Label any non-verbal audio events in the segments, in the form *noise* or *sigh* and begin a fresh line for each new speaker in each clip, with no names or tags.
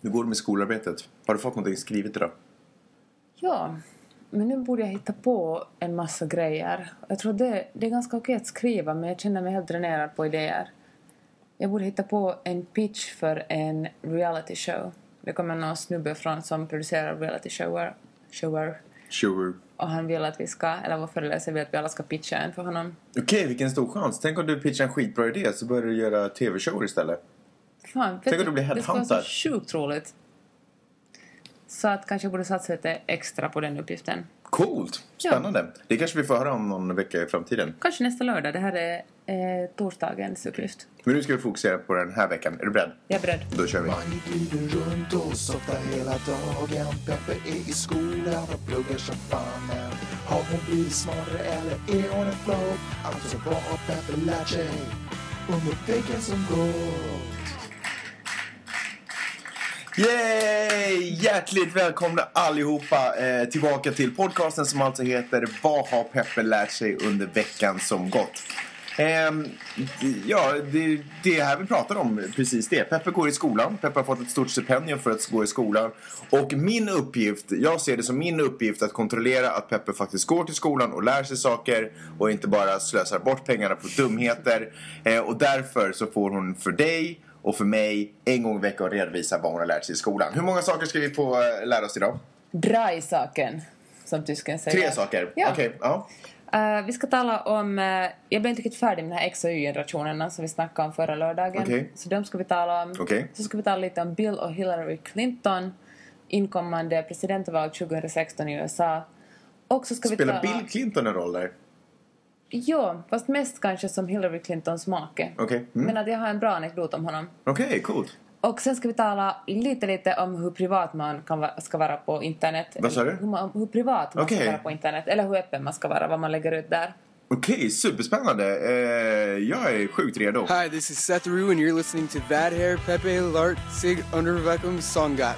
Hur går det med skolarbetet? Har du fått någonting skrivet idag?
Ja, men nu borde jag hitta på en massa grejer. Jag tror det, det är ganska okej att skriva men jag känner mig helt dränerad på idéer. Jag borde hitta på en pitch för en reality show. Det kommer någon snubbe från som producerar reality shower, shower
Sure.
och han vill att vi ska, eller vår föreläsare vill att vi alla ska pitcha en för honom.
Okej, vilken stor chans. Tänk om du pitchar en skitbra idé så börjar du göra tv-shower istället.
Fan, vet
Tänk om du blir
det skulle vara så
headhuntad.
sjukt roligt. Så att kanske jag borde satsa lite extra på den uppgiften.
Coolt! Spännande. Det kanske vi får höra om någon vecka i framtiden.
Kanske nästa lördag, det här är eh, torsdagens uppgift.
Men nu ska vi fokusera på den här veckan. Är du beredd?
Jag är beredd.
Då kör vi.
Man glider runt och softar hela dagen. Peppe är i skolan och pluggar som fanen. Har hon blivit smartare eller är hon en flopp? Alltså vad har Peppe lärt sig under veckan som gått?
Yay! Hjärtligt välkomna allihopa eh, tillbaka till podcasten som alltså heter Vad har Peppe lärt sig under veckan som gått? Ehm, d- ja, det, det är här vi pratar om, precis det. Peppe går i skolan, Peppe har fått ett stort stipendium för att gå i skolan. Och min uppgift, jag ser det som min uppgift att kontrollera att Peppe faktiskt går till skolan och lär sig saker och inte bara slösar bort pengarna på dumheter. Eh, och därför så får hon för dig och för mig en gång i veckan redovisa vad hon har lärt sig i skolan. Hur många saker ska vi få eh, lära oss idag?
Dreisaken, som tysken säger.
Tre saker?
Ja.
Okej, ja.
Eh, vi ska tala om... eh, jag blev inte riktigt färdig med den här X och Y-generationerna som vi snackade om förra lördagen.
Okej.
Så de ska vi tala om.
Okej.
Så ska vi tala lite om Bill och Hillary Clinton, inkommande presidentval 2016 i USA. Och så ska
Spelar
vi tala...
Bill Clinton en roll där?
Jo, fast mest kanske som Hillary Clintons make.
Okej, mm.
Men att jag har en bra anekdot om honom.
Okej, coolt.
Och sen ska vi tala lite, lite om hur privat man kan va- ska vara på internet.
Vad sa du?
Hur, man, hur privat man
Okej.
ska vara på internet. Eller hur öppen man ska vara, vad man lägger ut där.
Okej, superspännande. Eh, jag är sjukt redo.
Hi, this is Seth Rue, and you're listening to Bad Hair Pepe Lart Sig Undervecum Songat.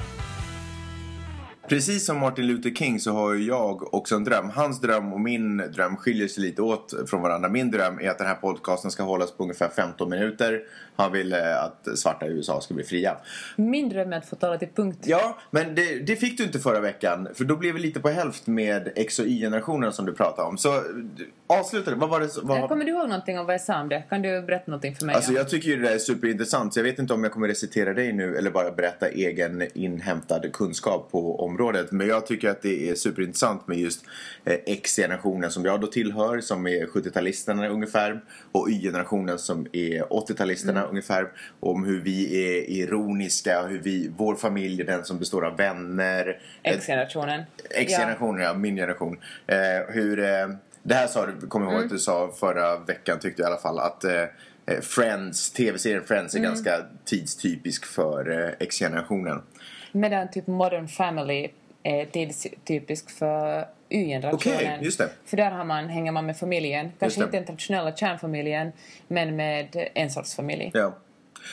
Precis som Martin Luther King så har ju jag också en dröm. Hans dröm och min dröm skiljer sig lite åt från varandra. Min dröm är att den här podcasten ska hållas på ungefär 15 minuter. Han vill eh, att svarta i USA ska bli fria.
Min dröm är att få tala till punkt.
Ja, men det, det fick du inte förra veckan. För då blev vi lite på hälft med X och Y-generationen som du pratade om. Så du- avsluta det. Vad var det som- vad...
Eh, Kommer du ihåg någonting om vad jag sa om det? Kan du berätta någonting för mig?
Alltså
om-
jag tycker ju det där är superintressant så jag vet inte om jag kommer recitera dig nu eller bara berätta egen inhämtad kunskap på området. Men jag tycker att det är superintressant med just eh, X-generationen som jag då tillhör som är 70-talisterna ungefär och Y-generationen som är 80-talisterna
Mm.
ungefär. Om hur vi är ironiska, hur vi, vår familj är den som består av vänner. eh,
X-generationen.
X-generationen, ja. Min generation. Eh, hur, eh, det här sa du, kommer jag ihåg att du sa förra veckan tyckte jag i alla fall att eh, eh, Friends, tv-serien Friends är ganska tidstypisk för eh, X-generationen.
Ja. Medan typ Modern Family är tidstypisk för Y-generationen.
Okej, just det.
För där har man, hänger man med familjen. Kanske
det.
inte den traditionella kärnfamiljen, men med en sorts familj.
Ja.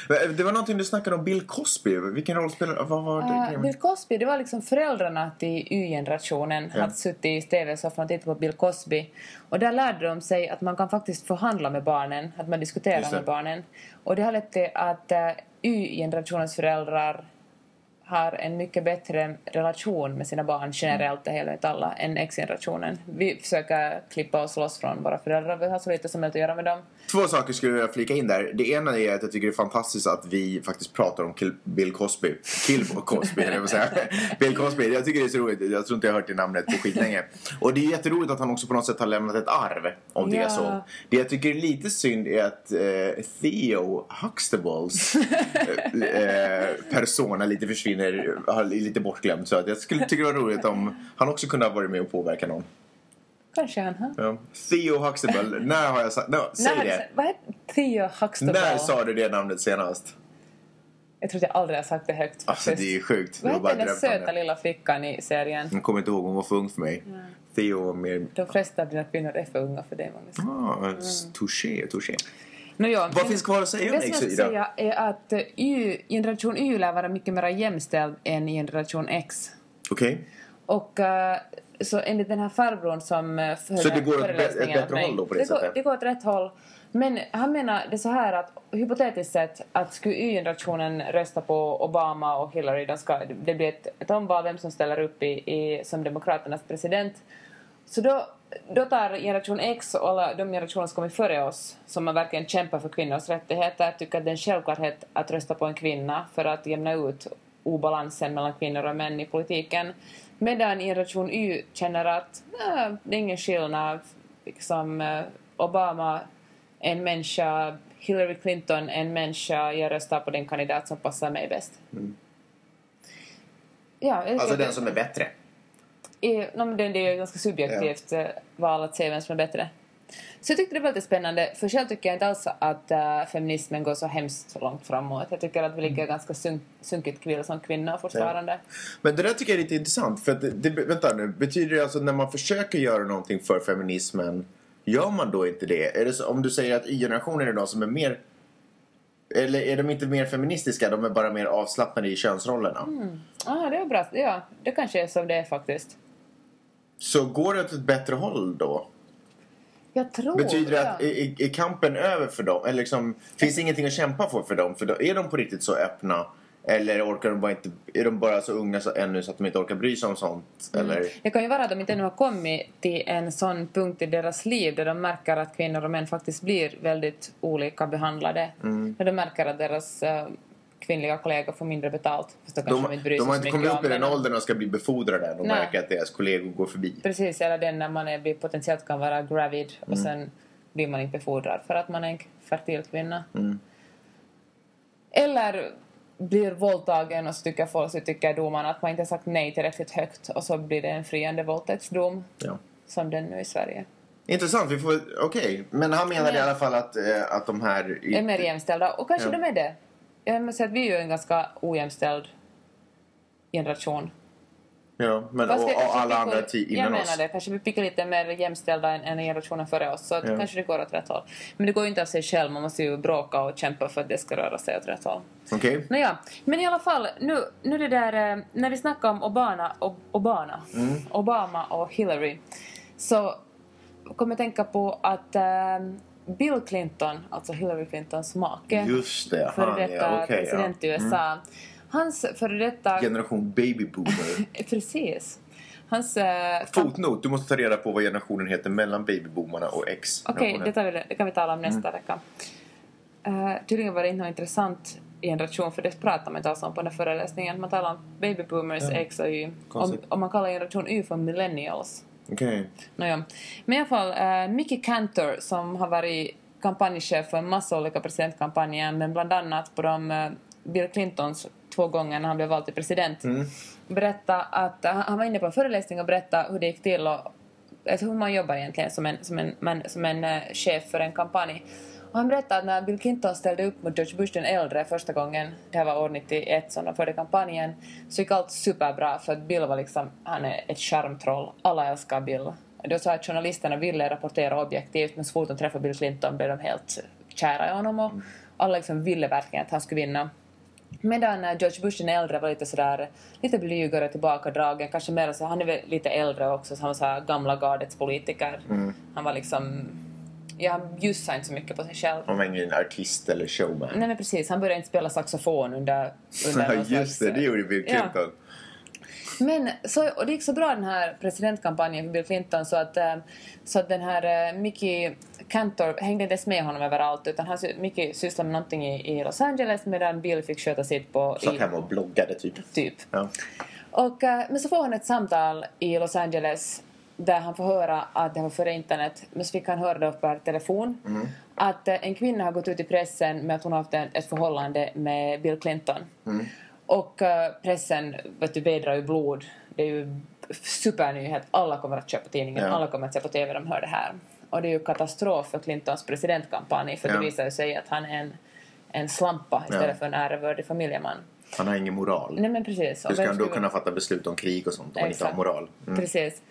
Men, eh, Det var någonting du snackade om Bill Cosby. Vilken roll spelar... Vad var det?
Uh, Bill Cosby, det var liksom föräldrarna till Y-generationen
Ja.
hade suttit i tv-soffan och tittat på Bill Cosby. Och där lärde de sig att man kan faktiskt förhandla med barnen, att man
Just
diskuterar
det.
med barnen. Och det har lett till att eh, Y-generationens föräldrar har en mycket bättre relation med sina barn generellt, det hela inte alla, än X-generationen. Vi försöker klippa oss loss från våra föräldrar, vi har så lite som möjligt att göra med dem.
Två saker skulle jag vilja flika in där. Det ena är att jag tycker det är fantastiskt att vi faktiskt pratar om Kill- Bill Cosby. Kill Cosby, eller vad säger jag? Bill Cosby. Jag tycker det är så roligt. Jag tror inte jag har hört det namnet på skitlänge. Och det är jätteroligt att han också på något sätt har lämnat ett arv. Om det är
Ja.
så. Det jag tycker är lite synd är att eh, Theo Huxtables eh, persona lite försvinner, har- är lite bortglömd. Så att jag skulle tycka det var roligt om han också kunde ha varit med och påverkat någon.
Kanske han har.
Ja. Theo Huxtable, när har jag sagt... No, säg
När-
det.
Vad heter Theo Huxtable?
När sa du det namnet senast?
Jag tror att jag aldrig har sagt det högt.
Alltså
faktiskt.
det är sjukt.
Vad
Jag
hette den där
drömt om
söta
det.
lilla flickan i serien?
Jag kommer inte ihåg, hon var för ung för mig. Theo var mer...
De flesta av dina kvinnor är för unga för det, Magnus.
Ah, touché, touché.
Nå, ja,
Vad
men-
finns kvar att säga om
Det som jag
X
ska
idag?
säga är att eh, y, generation Y lär vara mycket mer jämställd än generation X.
Okej.
Och eh, så enligt den här farbrorn som eh, före-
Så det går åt ett bä- ett
föreläsningen
bättre
åt mig,
håll då på det
det går,
sättet?
det går åt rätt håll. Men han menar det så här att hypotetiskt sett att skulle Y-generationen rösta på Obama och Hillary, de ska, det blir ett, ett omval vem som ställer upp i, i, som Demokraternas president. Så då, då tar generation X och alla de generationer som kommer före oss, som man verkligen kämpar för kvinnors rättigheter, tycker att det är en självklarhet att rösta på en kvinna för att jämna ut obalansen mellan kvinnor och män i politiken. Medan generation Y känner att "Nä, det är ingen skillnad, liksom, eh, Obama är en människa, Hillary Clinton är en människa, jag röstar på den kandidat som passar mig bäst. Ja, jag
Mm. Alltså
tycker-
den som är bättre.
Eh, no, men det, det är ju ganska subjektivt eh, val att se vem som är bättre. Så jag tyckte det var lite spännande, för själv tycker jag inte alls att eh, feminismen går så hemskt långt framåt. Jag tycker att vi
Mm.
ligger ganska sunk, sunkigt kvinnor som kvinnor fortfarande.
Men det där tycker jag är lite intressant. För att det, det, vänta nu, betyder det alltså när man försöker göra någonting för feminismen, gör man då inte det? Är det så, om du säger att Y-generationen är de som är mer... Eller är de inte mer feministiska, de är bara mer avslappnade i könsrollerna?
Ah, det var bra. Ja, det kanske är som det är faktiskt.
Så går det åt ett bättre håll då?
Jag tror...
Betyder det att
ja.
är, är- är kampen över för dem? Eller liksom, finns det ingenting att kämpa för för dem? För då, är de på riktigt så öppna? Eller orkar de bara inte, är de bara så unga så, ännu så att de inte orkar bry sig om sånt? Eller?
Det kan ju vara att de inte ännu har kommit till en sån punkt i deras liv där de märker att kvinnor och män faktiskt blir väldigt olika behandlade.
Mm.
När de märker att deras eh, kvinnliga kollegor får mindre betalt. Fast då kanske de,
De,
inte bryr sig
de har
så
inte
mycket
kommit
om
upp i den
det.
åldern och ska bli befordrade än och
Nej.
märker att deras kollegor går förbi.
Precis, eller den när man är, blir potentiellt kan vara gravid och
Mm.
sen blir man inte befordrad för att man är en fertil kvinna.
Mm.
Eller blir våldtagen och så tycker folk, så tycker domaren att man inte har sagt nej tillräckligt högt och så blir det en friande våldtäktsdom
Ja.
som den nu i Sverige.
Intressant, vi får... okej. Men han menade i alla fall att, eh, att de här...
är mer jämställda. Och kanske
Ja.
de är det. Jag måste säga att vi är ju en ganska ojämställd generation.
Ja, men,
Fast
och,
vi
och
kanske
alla
pickar-
andra ti-
Jag
innan
menar
oss.
det. Kanske vi pickar lite mer jämställda än, än generationen före oss. Så att
Ja.
kanske det går åt rätt håll. Men det går ju inte av sig själv. Man måste ju bråka och kämpa för att det ska röra sig åt rätt håll.
Okej.
Nåja, men i alla fall, nu, nu det där, eh, när vi snackar om Obama, Ob- Obama,
Mm.
Obama och Hillary så kommer jag tänka på att eh, Bill Clinton, alltså Hillary Clintons make,
Just det, han
före detta
ja. Mm. Okej,
president
ja.
i USA, hans före detta...
Generation baby boomer.
Eh, Precis. Hans... eh, kamp-
Fotnot, du måste ta reda på vad generationen heter mellan babyboomarna och X.
Okej, det tar vi det kan vi tala om nästa
Mm.
vecka. Eh, tydligen var det inte någon intressant generation, för det pratade man inte alls om på den här föreläsningen. Man talar om baby boomers, X och Y. Om,
Konstigt.
om man kallar generation Y för millennials.
Okej.
Nåja. Men i alla fall, eh, Mickey Cantor som har varit kampanjchef för en massa olika presidentkampanjer, men bland annat på de eh, Bill Clintons två gånger när han blev vald till president, berätta att eh, han var inne på en föreläsning och berätta hur det gick till och alltså hur man jobbar egentligen som en, som en, man, som en eh, chef för en kampanj. Och han berättade att när Bill Clinton ställde upp mot George Bush den äldre första gången, det här var år 91 som de förde kampanjen, så gick allt superbra för att Bill var liksom, han är ett charmtroll. Alla älskar Bill. Då sa att journalisterna ville rapportera objektivt men så fort de träffade Bill Clinton blev de helt kära i honom och alla liksom ville verkligen att han skulle vinna. Medan eh, George Bush den äldre var lite sådär, lite blygare, tillbakadragen, kanske mer så, han är väl lite äldre också, så han var såhär gamla gardets politiker.
Mm.
Han var liksom, ja han bjussade inte så mycket på sig själv.
Han var ingen artist eller showman.
Nej men precis, han började inte spela saxofon under... under
*laughs* Ja,
någon slags,
just det, det
eh,
gjorde typ Bill
ja.
Clinton.
Men så, och det gick så bra den här presidentkampanjen för Bill Clinton så att, eh, så att den här eh, Mickey Cantor hängde inte ens med honom överallt utan han, sy- Mickey sysslade med någonting i, i Los Angeles medan Bill fick sköta sitt på...
Satt
i-
hemma och bloggade typ.
Typ.
Ja.
Och, eh, men så får han ett samtal i Los Angeles där han får höra att det var före internet, men så fick han höra det per telefon
Mm.
att eh, en kvinna har gått ut i pressen med att hon har haft en, ett förhållande med Bill Clinton.
Mm.
Och eh, pressen vet du, bedrar ju blod. Det är ju supernyhet. Alla kommer att köpa tidningen,
Ja.
alla kommer att se på TV de hör det här. Och det är ju katastrof för Clintons presidentkampanj för
Ja.
det visar ju sig att han är en, en slampa istället
Ja.
för en ärevördig familjeman.
Han har ingen moral.
Nej men precis. Och
Hur ska
vem
han då
skulle-
kunna fatta beslut om krig och sånt om han inte har
Exakt.
moral? Mm.
Precis.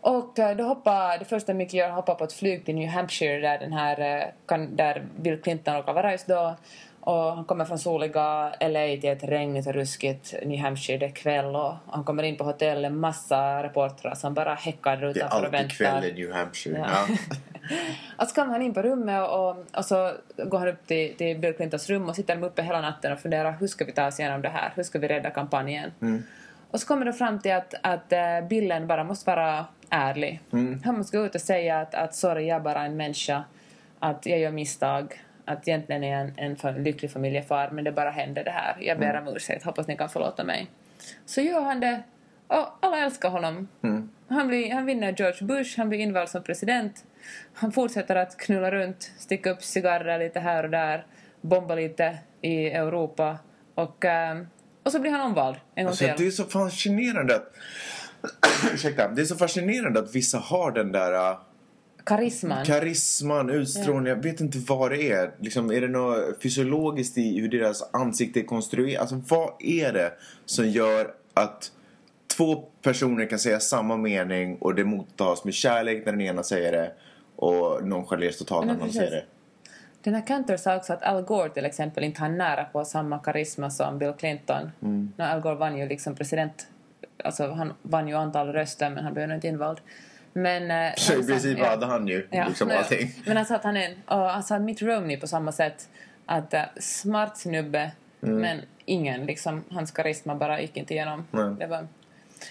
Och eh, då hoppar, det första mycket gör hoppar på ett flyg till New Hampshire där, den här, eh, kan, där Bill Clinton råkar vara just då. Och han kommer från soliga LA till ett regnigt och ruskigt New Hampshire. Det är kväll och han kommer in på hotellet, massa reportrar som bara häckar
Det är
utanför och
alltid
väntar. *laughs*
kväll i New Hampshire.
Ja.
Ja.
Att så kommer han in på rummet och, och så går han upp till, till Bill Clintons rum och sitter de uppe hela natten och funderar hur ska vi ta oss igenom det här? Hur ska vi rädda kampanjen?
Mm.
Och så kommer de fram till att, att eh, Billen bara måste vara ärlig.
Mm.
Han måste gå ut och säga att, att sorry, jag är bara en människa. Att jag gör misstag. Att egentligen är jag en, en fa- lycklig familjefar men det bara händer det här. Jag ber
Mm.
om ursäkt, hoppas ni kan förlåta mig. Så gör han det och alla älskar honom.
Mm.
Han, blir, han vinner George Bush, han blir invald som president. Han fortsätter att knulla runt, sticka upp cigarrer lite här och där, bomba lite i Europa och, eh, och så blir han omvald en gång
Alltså, det
till.
är så fascinerande att... *clears throat* Ursäkta. Det är så fascinerande att vissa har den där... äh,
Karisman.
Karisman, utstrålning, jag vet inte vad det är. Liksom, är det något fysiologiskt i hur deras ansikte är konstruerat? Alltså, vad är det som gör att två personer kan säga samma mening och det mottas med kärlek när den ena säger det och nonchaleras totalt när
Men
den andra säger
precis.
det?
Den här Cantor sa också att Al Gore till exempel inte har nära på samma karisma som Bill Clinton. När Al Gore vann ju liksom president... Alltså han vann ju antal röster men han blev nog inte invald. Men... eh,
Så
han
i
sa-
princip
ja.
hade han ju liksom
men-
allting.
Men han sa att han är en- och han sa att Mitt Romney på samma sätt. Att eh, smart snubbe
Mm.
men ingen liksom. Hans karisma bara gick inte igenom.
Nej.
Det var,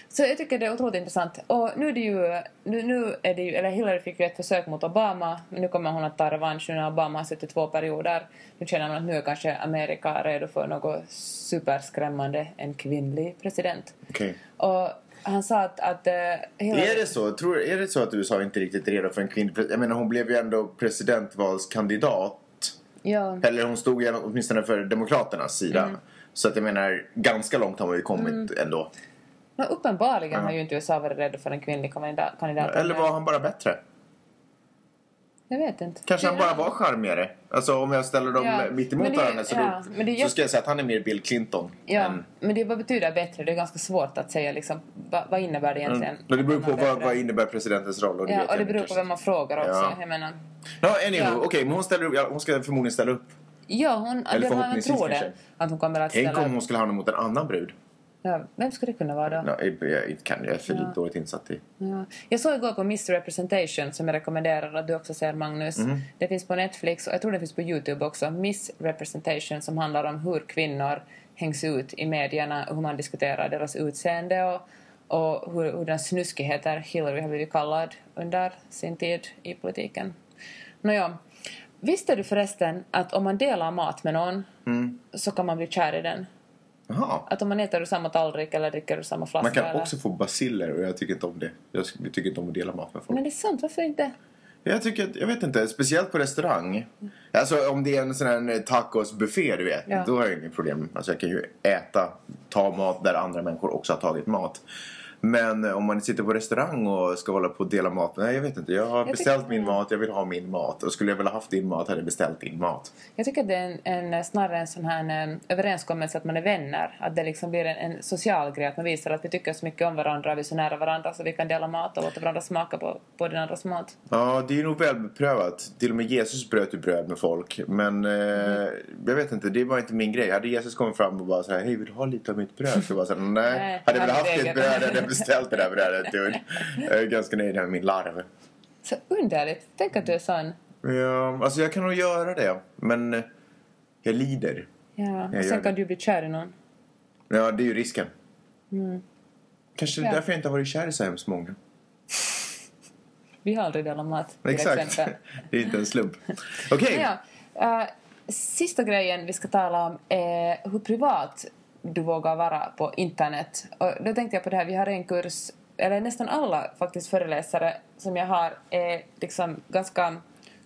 så jag tycker det är otroligt intressant. Och nu är det ju, nu, nu är det ju, eller Hillary fick ju ett försök mot Obama, men nu kommer hon att ta revansch nu när Obama har suttit två perioder. Nu känner man att nu är kanske Amerika redo för något superskrämmande, en kvinnlig president.
Okej.
Och han sa att, att eh, Hillary...
Är det så? Tror, är det så att USA inte riktigt är redo för en kvinnlig pres- Jag menar, hon blev ju ändå presidentvalskandidat
Ja.
Eller hon stod ju åtminstone för Demokraternas sida.
Mm.
Så att jag menar, ganska långt har man ju kommit ändå.
Men uppenbarligen har ju inte USA varit rädda för en kvinnlig kandida- kandidat.
Eller var han bara bättre?
Jag vet inte.
Kanske han
Det-
bara var charmigare. Alltså om jag ställer dem
Ja,
mitt
men
emot
det-
varandra så,
ja,
då,
men det är
så
just-
ska jag säga att han är mer Bill Clinton.
Ja,
än-
men det vad betyder bättre? Det är ganska svårt att säga liksom, vad, vad innebär det egentligen?
Mm. Men det beror på
Vad är
vad,
bättre?
vad innebär presidentens roll. Och det,
Ja,
vet
och det
jag
beror
inte
på vem man frågar också.
Ja.
Jag menar,
No, anywho,
Ja.
okej, men hon, ställer, upp- ja, hon ska förmodligen ställa upp.
ja, hon,
Eller
det, man
förhoppningsvis
tror det.
kanske.
Att hon kommer att
Tänk
ställa
om hon skulle hamna mot en annan brud.
ja, Vem skulle det kunna vara då?
No, jag, jag, kan, jag är för dåligt insatt i.
Ja. Jag såg igår på Miss Representation som jag rekommenderar att du också ser Magnus.
Mm.
Det finns på Netflix och jag tror det finns på Youtube också. Miss Representation som handlar om hur kvinnor hängs ut i medierna och hur man diskuterar deras utseende och, och hur, hur den snuskigheter Hillary har blivit kallad under sin tid i politiken. Nåja, visste du förresten att om man delar mat med någon
Mm.
så kan man bli kär i den?
Jaha.
Att om man äter ur samma tallrik eller dricker ur samma flaska
Man kan
eller...
också få basiller och jag tycker inte om det. Jag tycker inte om att dela mat med folk.
Men det är sant, varför inte?
Jag tycker, att- jag vet inte, speciellt på restaurang. Alltså om det är en sån här tacosbuffé du vet,
Ja.
då har jag inget problem. Alltså jag kan ju äta, ta mat där andra människor också har tagit mat. Men eh, om man sitter på restaurang och ska hålla på och dela mat, nej jag vet inte. Jag har beställt
tycker-
min mat, jag vill ha min mat. Och skulle jag vilja haft din mat hade jag beställt din mat.
Jag tycker att det är en, en, snarare en sån här en, överenskommelse att man är vänner. Att det liksom blir en, en social grej, att man visar att vi tycker så mycket om varandra, vi är så nära varandra så vi kan dela mat och låta varandra smaka på, på den andras mat.
Ja, det är nog välbeprövat. Till och med Jesus bröt ju bröd med folk. Men
Mm.
eh, jag vet inte, det var inte min grej. Hade Jesus kommit fram och bara så här, hej vill du ha lite av mitt bröd? Så bara så här, nej.
Nej,
hade jag
han
väl haft
vägrar.
ditt bröd hade jag beställt det där brödet. Dude. Jag är ganska nöjd med min larv.
Så underligt! Tänk att du är sån.
Ja, alltså jag kan nog göra det. Men eh, jag lider.
Ja.
gör
Och sen
det.
kan du bli kär i någon.
Ja, det är ju risken. Kanske det är
Mm. Ja.
därför jag inte har varit kär i så hemskt många.
Vi har aldrig delat mat, till
Exakt.
exempel.
*laughs* det är inte en slump. Okej.
Ja, eh, sista grejen vi ska tala om är hur privat du vågar vara på internet. Och då tänkte jag på det här, vi har en kurs, eller nästan alla faktiskt föreläsare som jag har är liksom ganska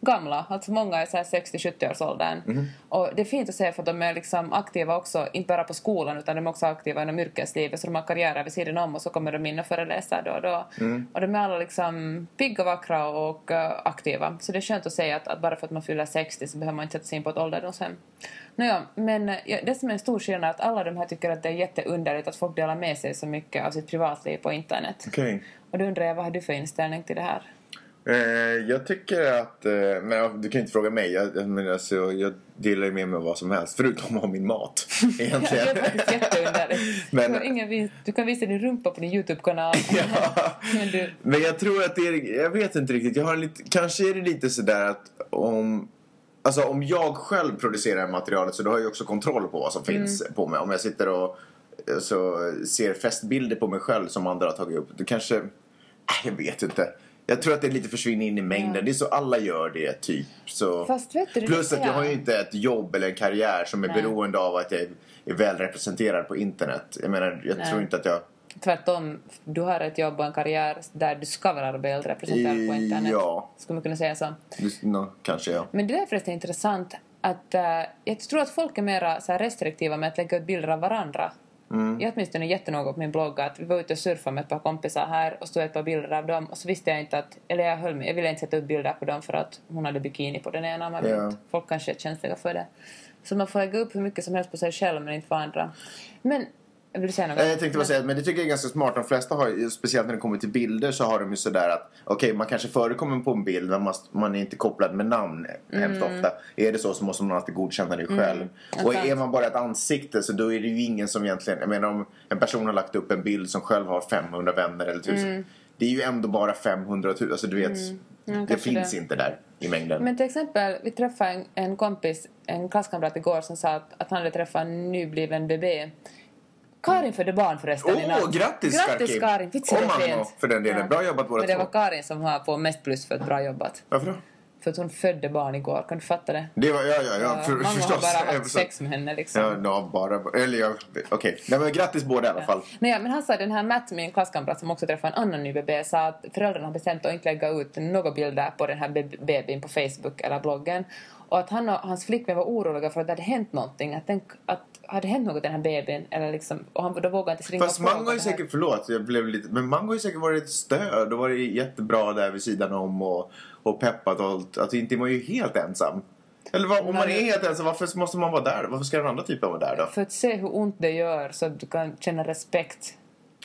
gamla, alltså många är så här 60-70-årsåldern. Och det är fint att se för att de är liksom aktiva också, inte bara på skolan utan de är också aktiva inom yrkeslivet så de har karriärer vid sidan om och så kommer de in och föreläser då och då. Och de är alla liksom pigga, vackra och eh, aktiva. Så det är skönt att säga att, att bara för att man fyller 60 så behöver man inte sätta sig in på ett ålderdomshem. Nåja, men eh, ja, det som är en stor skillnad är att alla de här tycker att det är jätteunderligt att folk delar med sig så mycket av sitt privatliv på internet.
Okej.
Och då undrar jag, vad har du för inställning till det här?
Eh, jag tycker att... Eh, men ja, du kan ju inte fråga mig. Jag, jag, menar, så jag delar ju med mig av vad som helst. Förutom av min mat. *laughs*
*laughs* Det
Egentligen.
är faktiskt jätteunderligt.
Men-
Du, har ingen vis- du kan visa din rumpa på din Youtube-kanal.
*laughs* Ja.
Men du,
Men jag tror att det är... Jag vet inte riktigt. Jag har lite, kanske är det lite sådär att om... Alltså om jag själv producerar materialet så då har jag ju också kontroll på vad som
Mm.
finns på mig. Om jag sitter och eh, så ser festbilder på mig själv som andra har tagit upp. Då kanske... Äh, jag vet inte. Jag tror att det lite försvinner in i mängden. Det är så alla gör det typ. Så...
fast vet du... det-
Plus att jag har ju
ja.
inte ett jobb eller en karriär som är
Nej.
beroende av att jag är välrepresenterad på internet. Jag menar, jag
Nej.
tror inte att jag...
Tvärtom, du har ett jobb och en karriär där du ska vara välrepresenterad på internet.
Ja.
Skulle man kunna säga så.
Nå, kanske jag.
Men det där är förresten intressant att eh, jag tror att folk är mer så här, restriktiva med att lägga ut bilder av varandra.
Mm.
Jag åtminstone är jättenoga på min blogg att vi var ute och surfade med ett par kompisar här och stod ett par bilder av dem och så visste jag inte att, eller jag höll mig, jag ville inte sätta upp bilder på dem för att hon hade bikini på den ena. Man vet.
Ja.
Folk kanske är känsliga för det. Så man får lägga upp hur mycket som helst på sig själv men inte på andra. Men, vill du säga något?
Eh, Jag tänkte bara säga, men det tycker jag är ganska smart. De flesta har ju, speciellt när det kommer till bilder, så har de ju sådär att okej, man kanske förekommer på en bild men man, man är inte kopplad med namn hemskt
Mm.
ofta. Är det så så måste man alltid godkänna det själv. Och
sant.
är man bara ett ansikte så då är det ju ingen som egentligen, jag menar om en person har lagt upp en bild som själv har 500 vänner eller 1000.
Mm.
Det är ju ändå bara 500 000, alltså du vet, det
kanske
finns
det.
inte där i mängden.
Men till exempel, vi träffade en, en kompis, en klasskamrat igår som sa att, att han hade träffat en nybliven bebé. Karin födde barn förresten.
Mm. Åh,
i namn.
grattis,
Grattis
Karin.
Karin! Visst är
Och
det
mamma,
fint?
för den delen. Bra jobbat båda
Men det
två.
var Karin som har på mest plus för ett bra jobbat.
Varför då?
För att hon födde barn igår, kan du fatta det?
Det var, ja, ja, ja,
Ja,
för,
mamma
förstås.
har
*laughs*
bara haft
Eftersom-
sex med henne liksom.
Ja, ja, bara... Eller jag... Okej. Nej, men grattis båda i alla fall.
Nej, men han sa den här Matt, min klasskamrat som också träffade en annan ny bebé, sa att föräldrarna har bestämt att inte lägga ut några bilder på den här be- bebisen på Facebook eller bloggen. Och att han och hans flickvän var oroliga för att det hade hänt någonting. Att, den, att hade hänt något den här bebisen? Eller liksom, och han, då vågade han inte ringa
Fast
och fråga
Mango har ju
det här.
säkert, förlåt, jag blev lite, men Mango har ju säkert varit ett stöd och varit jättebra där vid sidan om och, och peppat och allt. Alltså inte är man ju helt ensam. Eller vad, om man är
Nej.
helt ensam, varför måste man vara där? Varför ska den andra typen vara där då?
För att se hur ont det gör så att du kan känna respekt.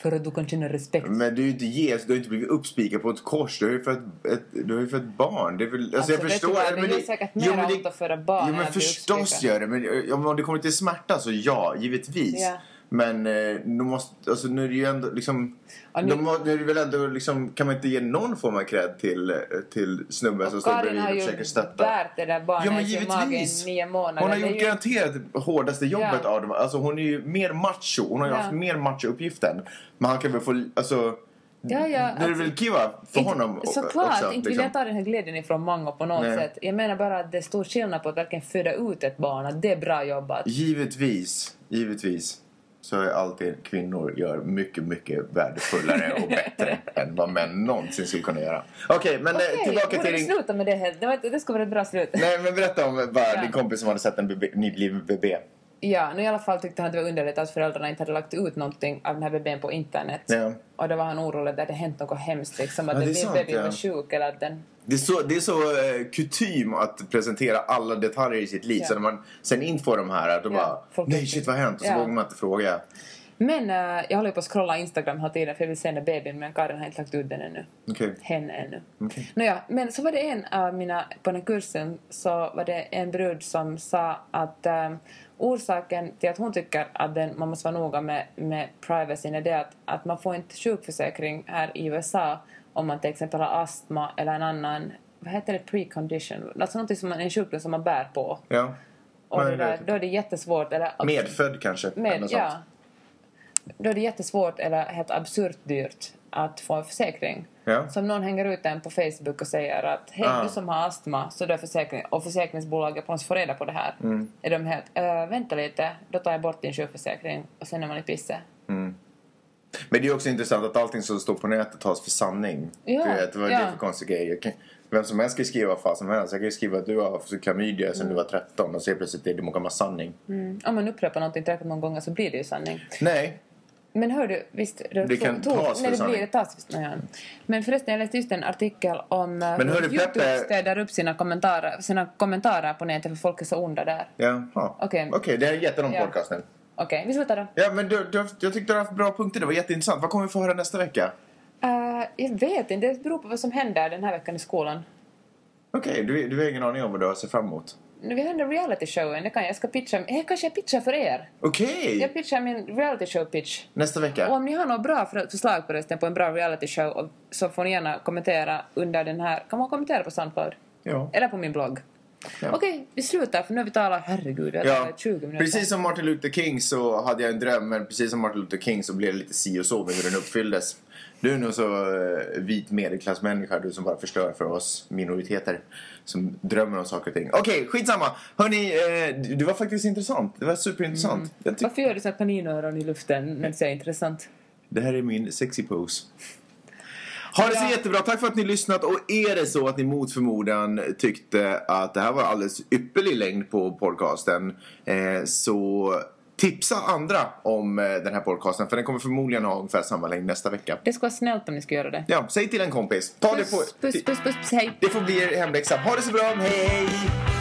För att du kan känna respekt.
Men alltså, du är ju inte Jesus, du har inte blivit uppspikad på ett kors. Du har ju fött ett, du har ju fött barn. Det är väl, alltså, jag
det
förstår.
tror jag, det
men
gör säkert
jo,
mer
men det-
ont att föda barn
Jo
än
men
att bli
förstås
uppspikad.
gör det. Men eh, om om det kommer till smärta så ja, givetvis.
Ja.
Men eh, nu, måste, alltså, nu är det ju ändå liksom...
Ja, nu-
de må, nu är det väl ändå liksom, kan man inte ge någon form av cred till, eh, till snubben som
och
står
Karin har
bredvid och
ju
försöker stötta?
bärt det där barnet
Ja men
i magen i
givetvis.
nio månader.
Hon har
Det är
gjort
ju-
garanterat det hårdaste jobbet
Ja.
av dem. Alltså hon är ju mer macho. Hon har ju
Ja.
haft mer macho-uppgiften. Men han kan väl få, alltså...
Ja, ja,
det är
alltså-
väl kiva för
Inte-
honom o-
Såklart,
också, liksom.
inte vill jag ta den här glädjen ifrån Mango på något
Nej.
sätt. Jag menar bara att det är stor skillnad på att verkligen föda ut ett barn, att det är bra jobbat.
Givetvis, givetvis så är alltid kvinnor gör mycket, mycket värdefullare
*laughs*
och bättre än vad män någonsin skulle kunna göra. Okej, men eh,
Okej,
tillbaka
borde
till
vi
din...
sluta med det helt? Det, var, inte- det skulle vara ett bra slut.
Nej, men berätta om bara,
Ja.
din kompis som hade sett en bebé- nybliven bebé.
Ja, nu i alla fall tyckte han att det var underligt att föräldrarna inte hade lagt ut någonting av den här bebisen på internet.
Ja.
Och då var han orolig att det hade hänt något hemskt, liksom att
Ja,
den
det är
min
sant,
bebis
ja.
var sjuk eller att den...
Det är så, det är så eh, kutym att presentera alla detaljer i sitt liv.
Ja.
Så när man sen in får de här, då bara
folk
nej
vet
shit
inte."
vad har hänt? Och så
Ja.
vågar man inte fråga.
Men eh, jag håller ju på att scrolla Instagram hela tiden för jag vill se den där bebisen, men Karin har inte lagt ut den ännu.
Okej.
henne ännu. Nåja, men så var det en av mina, på den kursen så var det en brud som sa att ehm, orsaken till att hon tycker att den, man måste vara noga med, med privacyn är det att, att man får inte sjukförsäkring här i USA om man till exempel har astma eller en annan, vad heter det, precondition, alltså någonting som man, en sjukdom som man bär på.
Ja.
Och
Nej,
det
det vet
där,
jag.
då är det jättesvårt, eller
Medfödd kanske? eller
med,
något
ja.
sånt.
Då är det jättesvårt eller helt absurt dyrt att få en försäkring.
Ja.
Så om någon hänger ut en på Facebook och säger att hej
Ah.
du som har astma så du har försäkring och försäkringsbolaget på oss får reda på det här.
Mm.
Är de helt "Äh, vänta lite, då tar jag bort din sjukförsäkring och sen är man i pisse.
Men det är också intressant att allting som står på nätet tas för sanning.
Ja,
du vet, vad är
ja.
det för konstig grej? Jag kan, vem som helst kan skriva vad fan som helst. Jag kan ju skriva att du har haft klamydia sedan du var 13 och så helt plötsligt är det Mogamma sanning.
Mm. Om man upprepar någonting tillräckligt många gånger så blir det ju sanning.
Nej,
Men hör du, visst...
Det kan
tog-
tas för
nej, det blir
sanning.
det tas för sanning. Men förresten, jag läste just en artikel om eh,
Men hör du,
Youtube
Peppe-
städar upp sina kommentarer, sina kommentarer på nätet för folk är så onda där.
jaha.
Okej.
det här är en jättelång
Ja.
podcast nu.
Okej, vi slutar då.
Ja, men du, du, har haft- jag tyckte du har haft bra punkter. Det var jätteintressant. Vad kommer vi få höra nästa vecka?
Eh, jag vet inte, det beror på vad som händer den här veckan i skolan.
Okej, du, du har ingen aning om vad du har att se fram emot.
Nu, Vi har den där reality-showen, det kan jag. Jag ska pitcha, eh, kanske jag pitchar för er.
Okej!
Jag pitchar min reality-show-pitch.
Nästa vecka.
Och om ni har några bra för- förslag förresten på en bra realityshow och- så får ni gärna kommentera under den här. Kan man kommentera på Soundcloud?
Ja.
Eller på min blogg?
Ja.
Okej, vi slutar för nu har vi talat, herregud, vi har
Ja,
talat 20 minuter.
precis som Martin Luther King så hade jag en dröm men precis som Martin Luther King så blev det lite si och så med hur den uppfylldes. Du är nog så eh, vit medelklassmänniska du som bara förstör för oss minoriteter som drömmer om saker och ting. Okej, skitsamma! Hörni, eh, det var faktiskt intressant. Det var superintressant. Jag tyck-
Varför gör du såna kaninöron i luften när du säger intressant?
det här är min sexy pose. Ha det så
Ja.
jättebra. Tack för att ni lyssnat. Och är det så att ni mot förmodan tyckte att det här var alldeles ypperlig längd på podcasten eh, så tipsa andra om eh, den här podcasten för den kommer förmodligen ha ungefär samma längd nästa vecka.
Det skulle vara snällt om ni skulle göra det.
Ja, säg till en kompis. Ta det på...
Puss, puss, puss, puss, puss hej!
Det får bli er hemläxa. Ha det så bra. Hej, hej!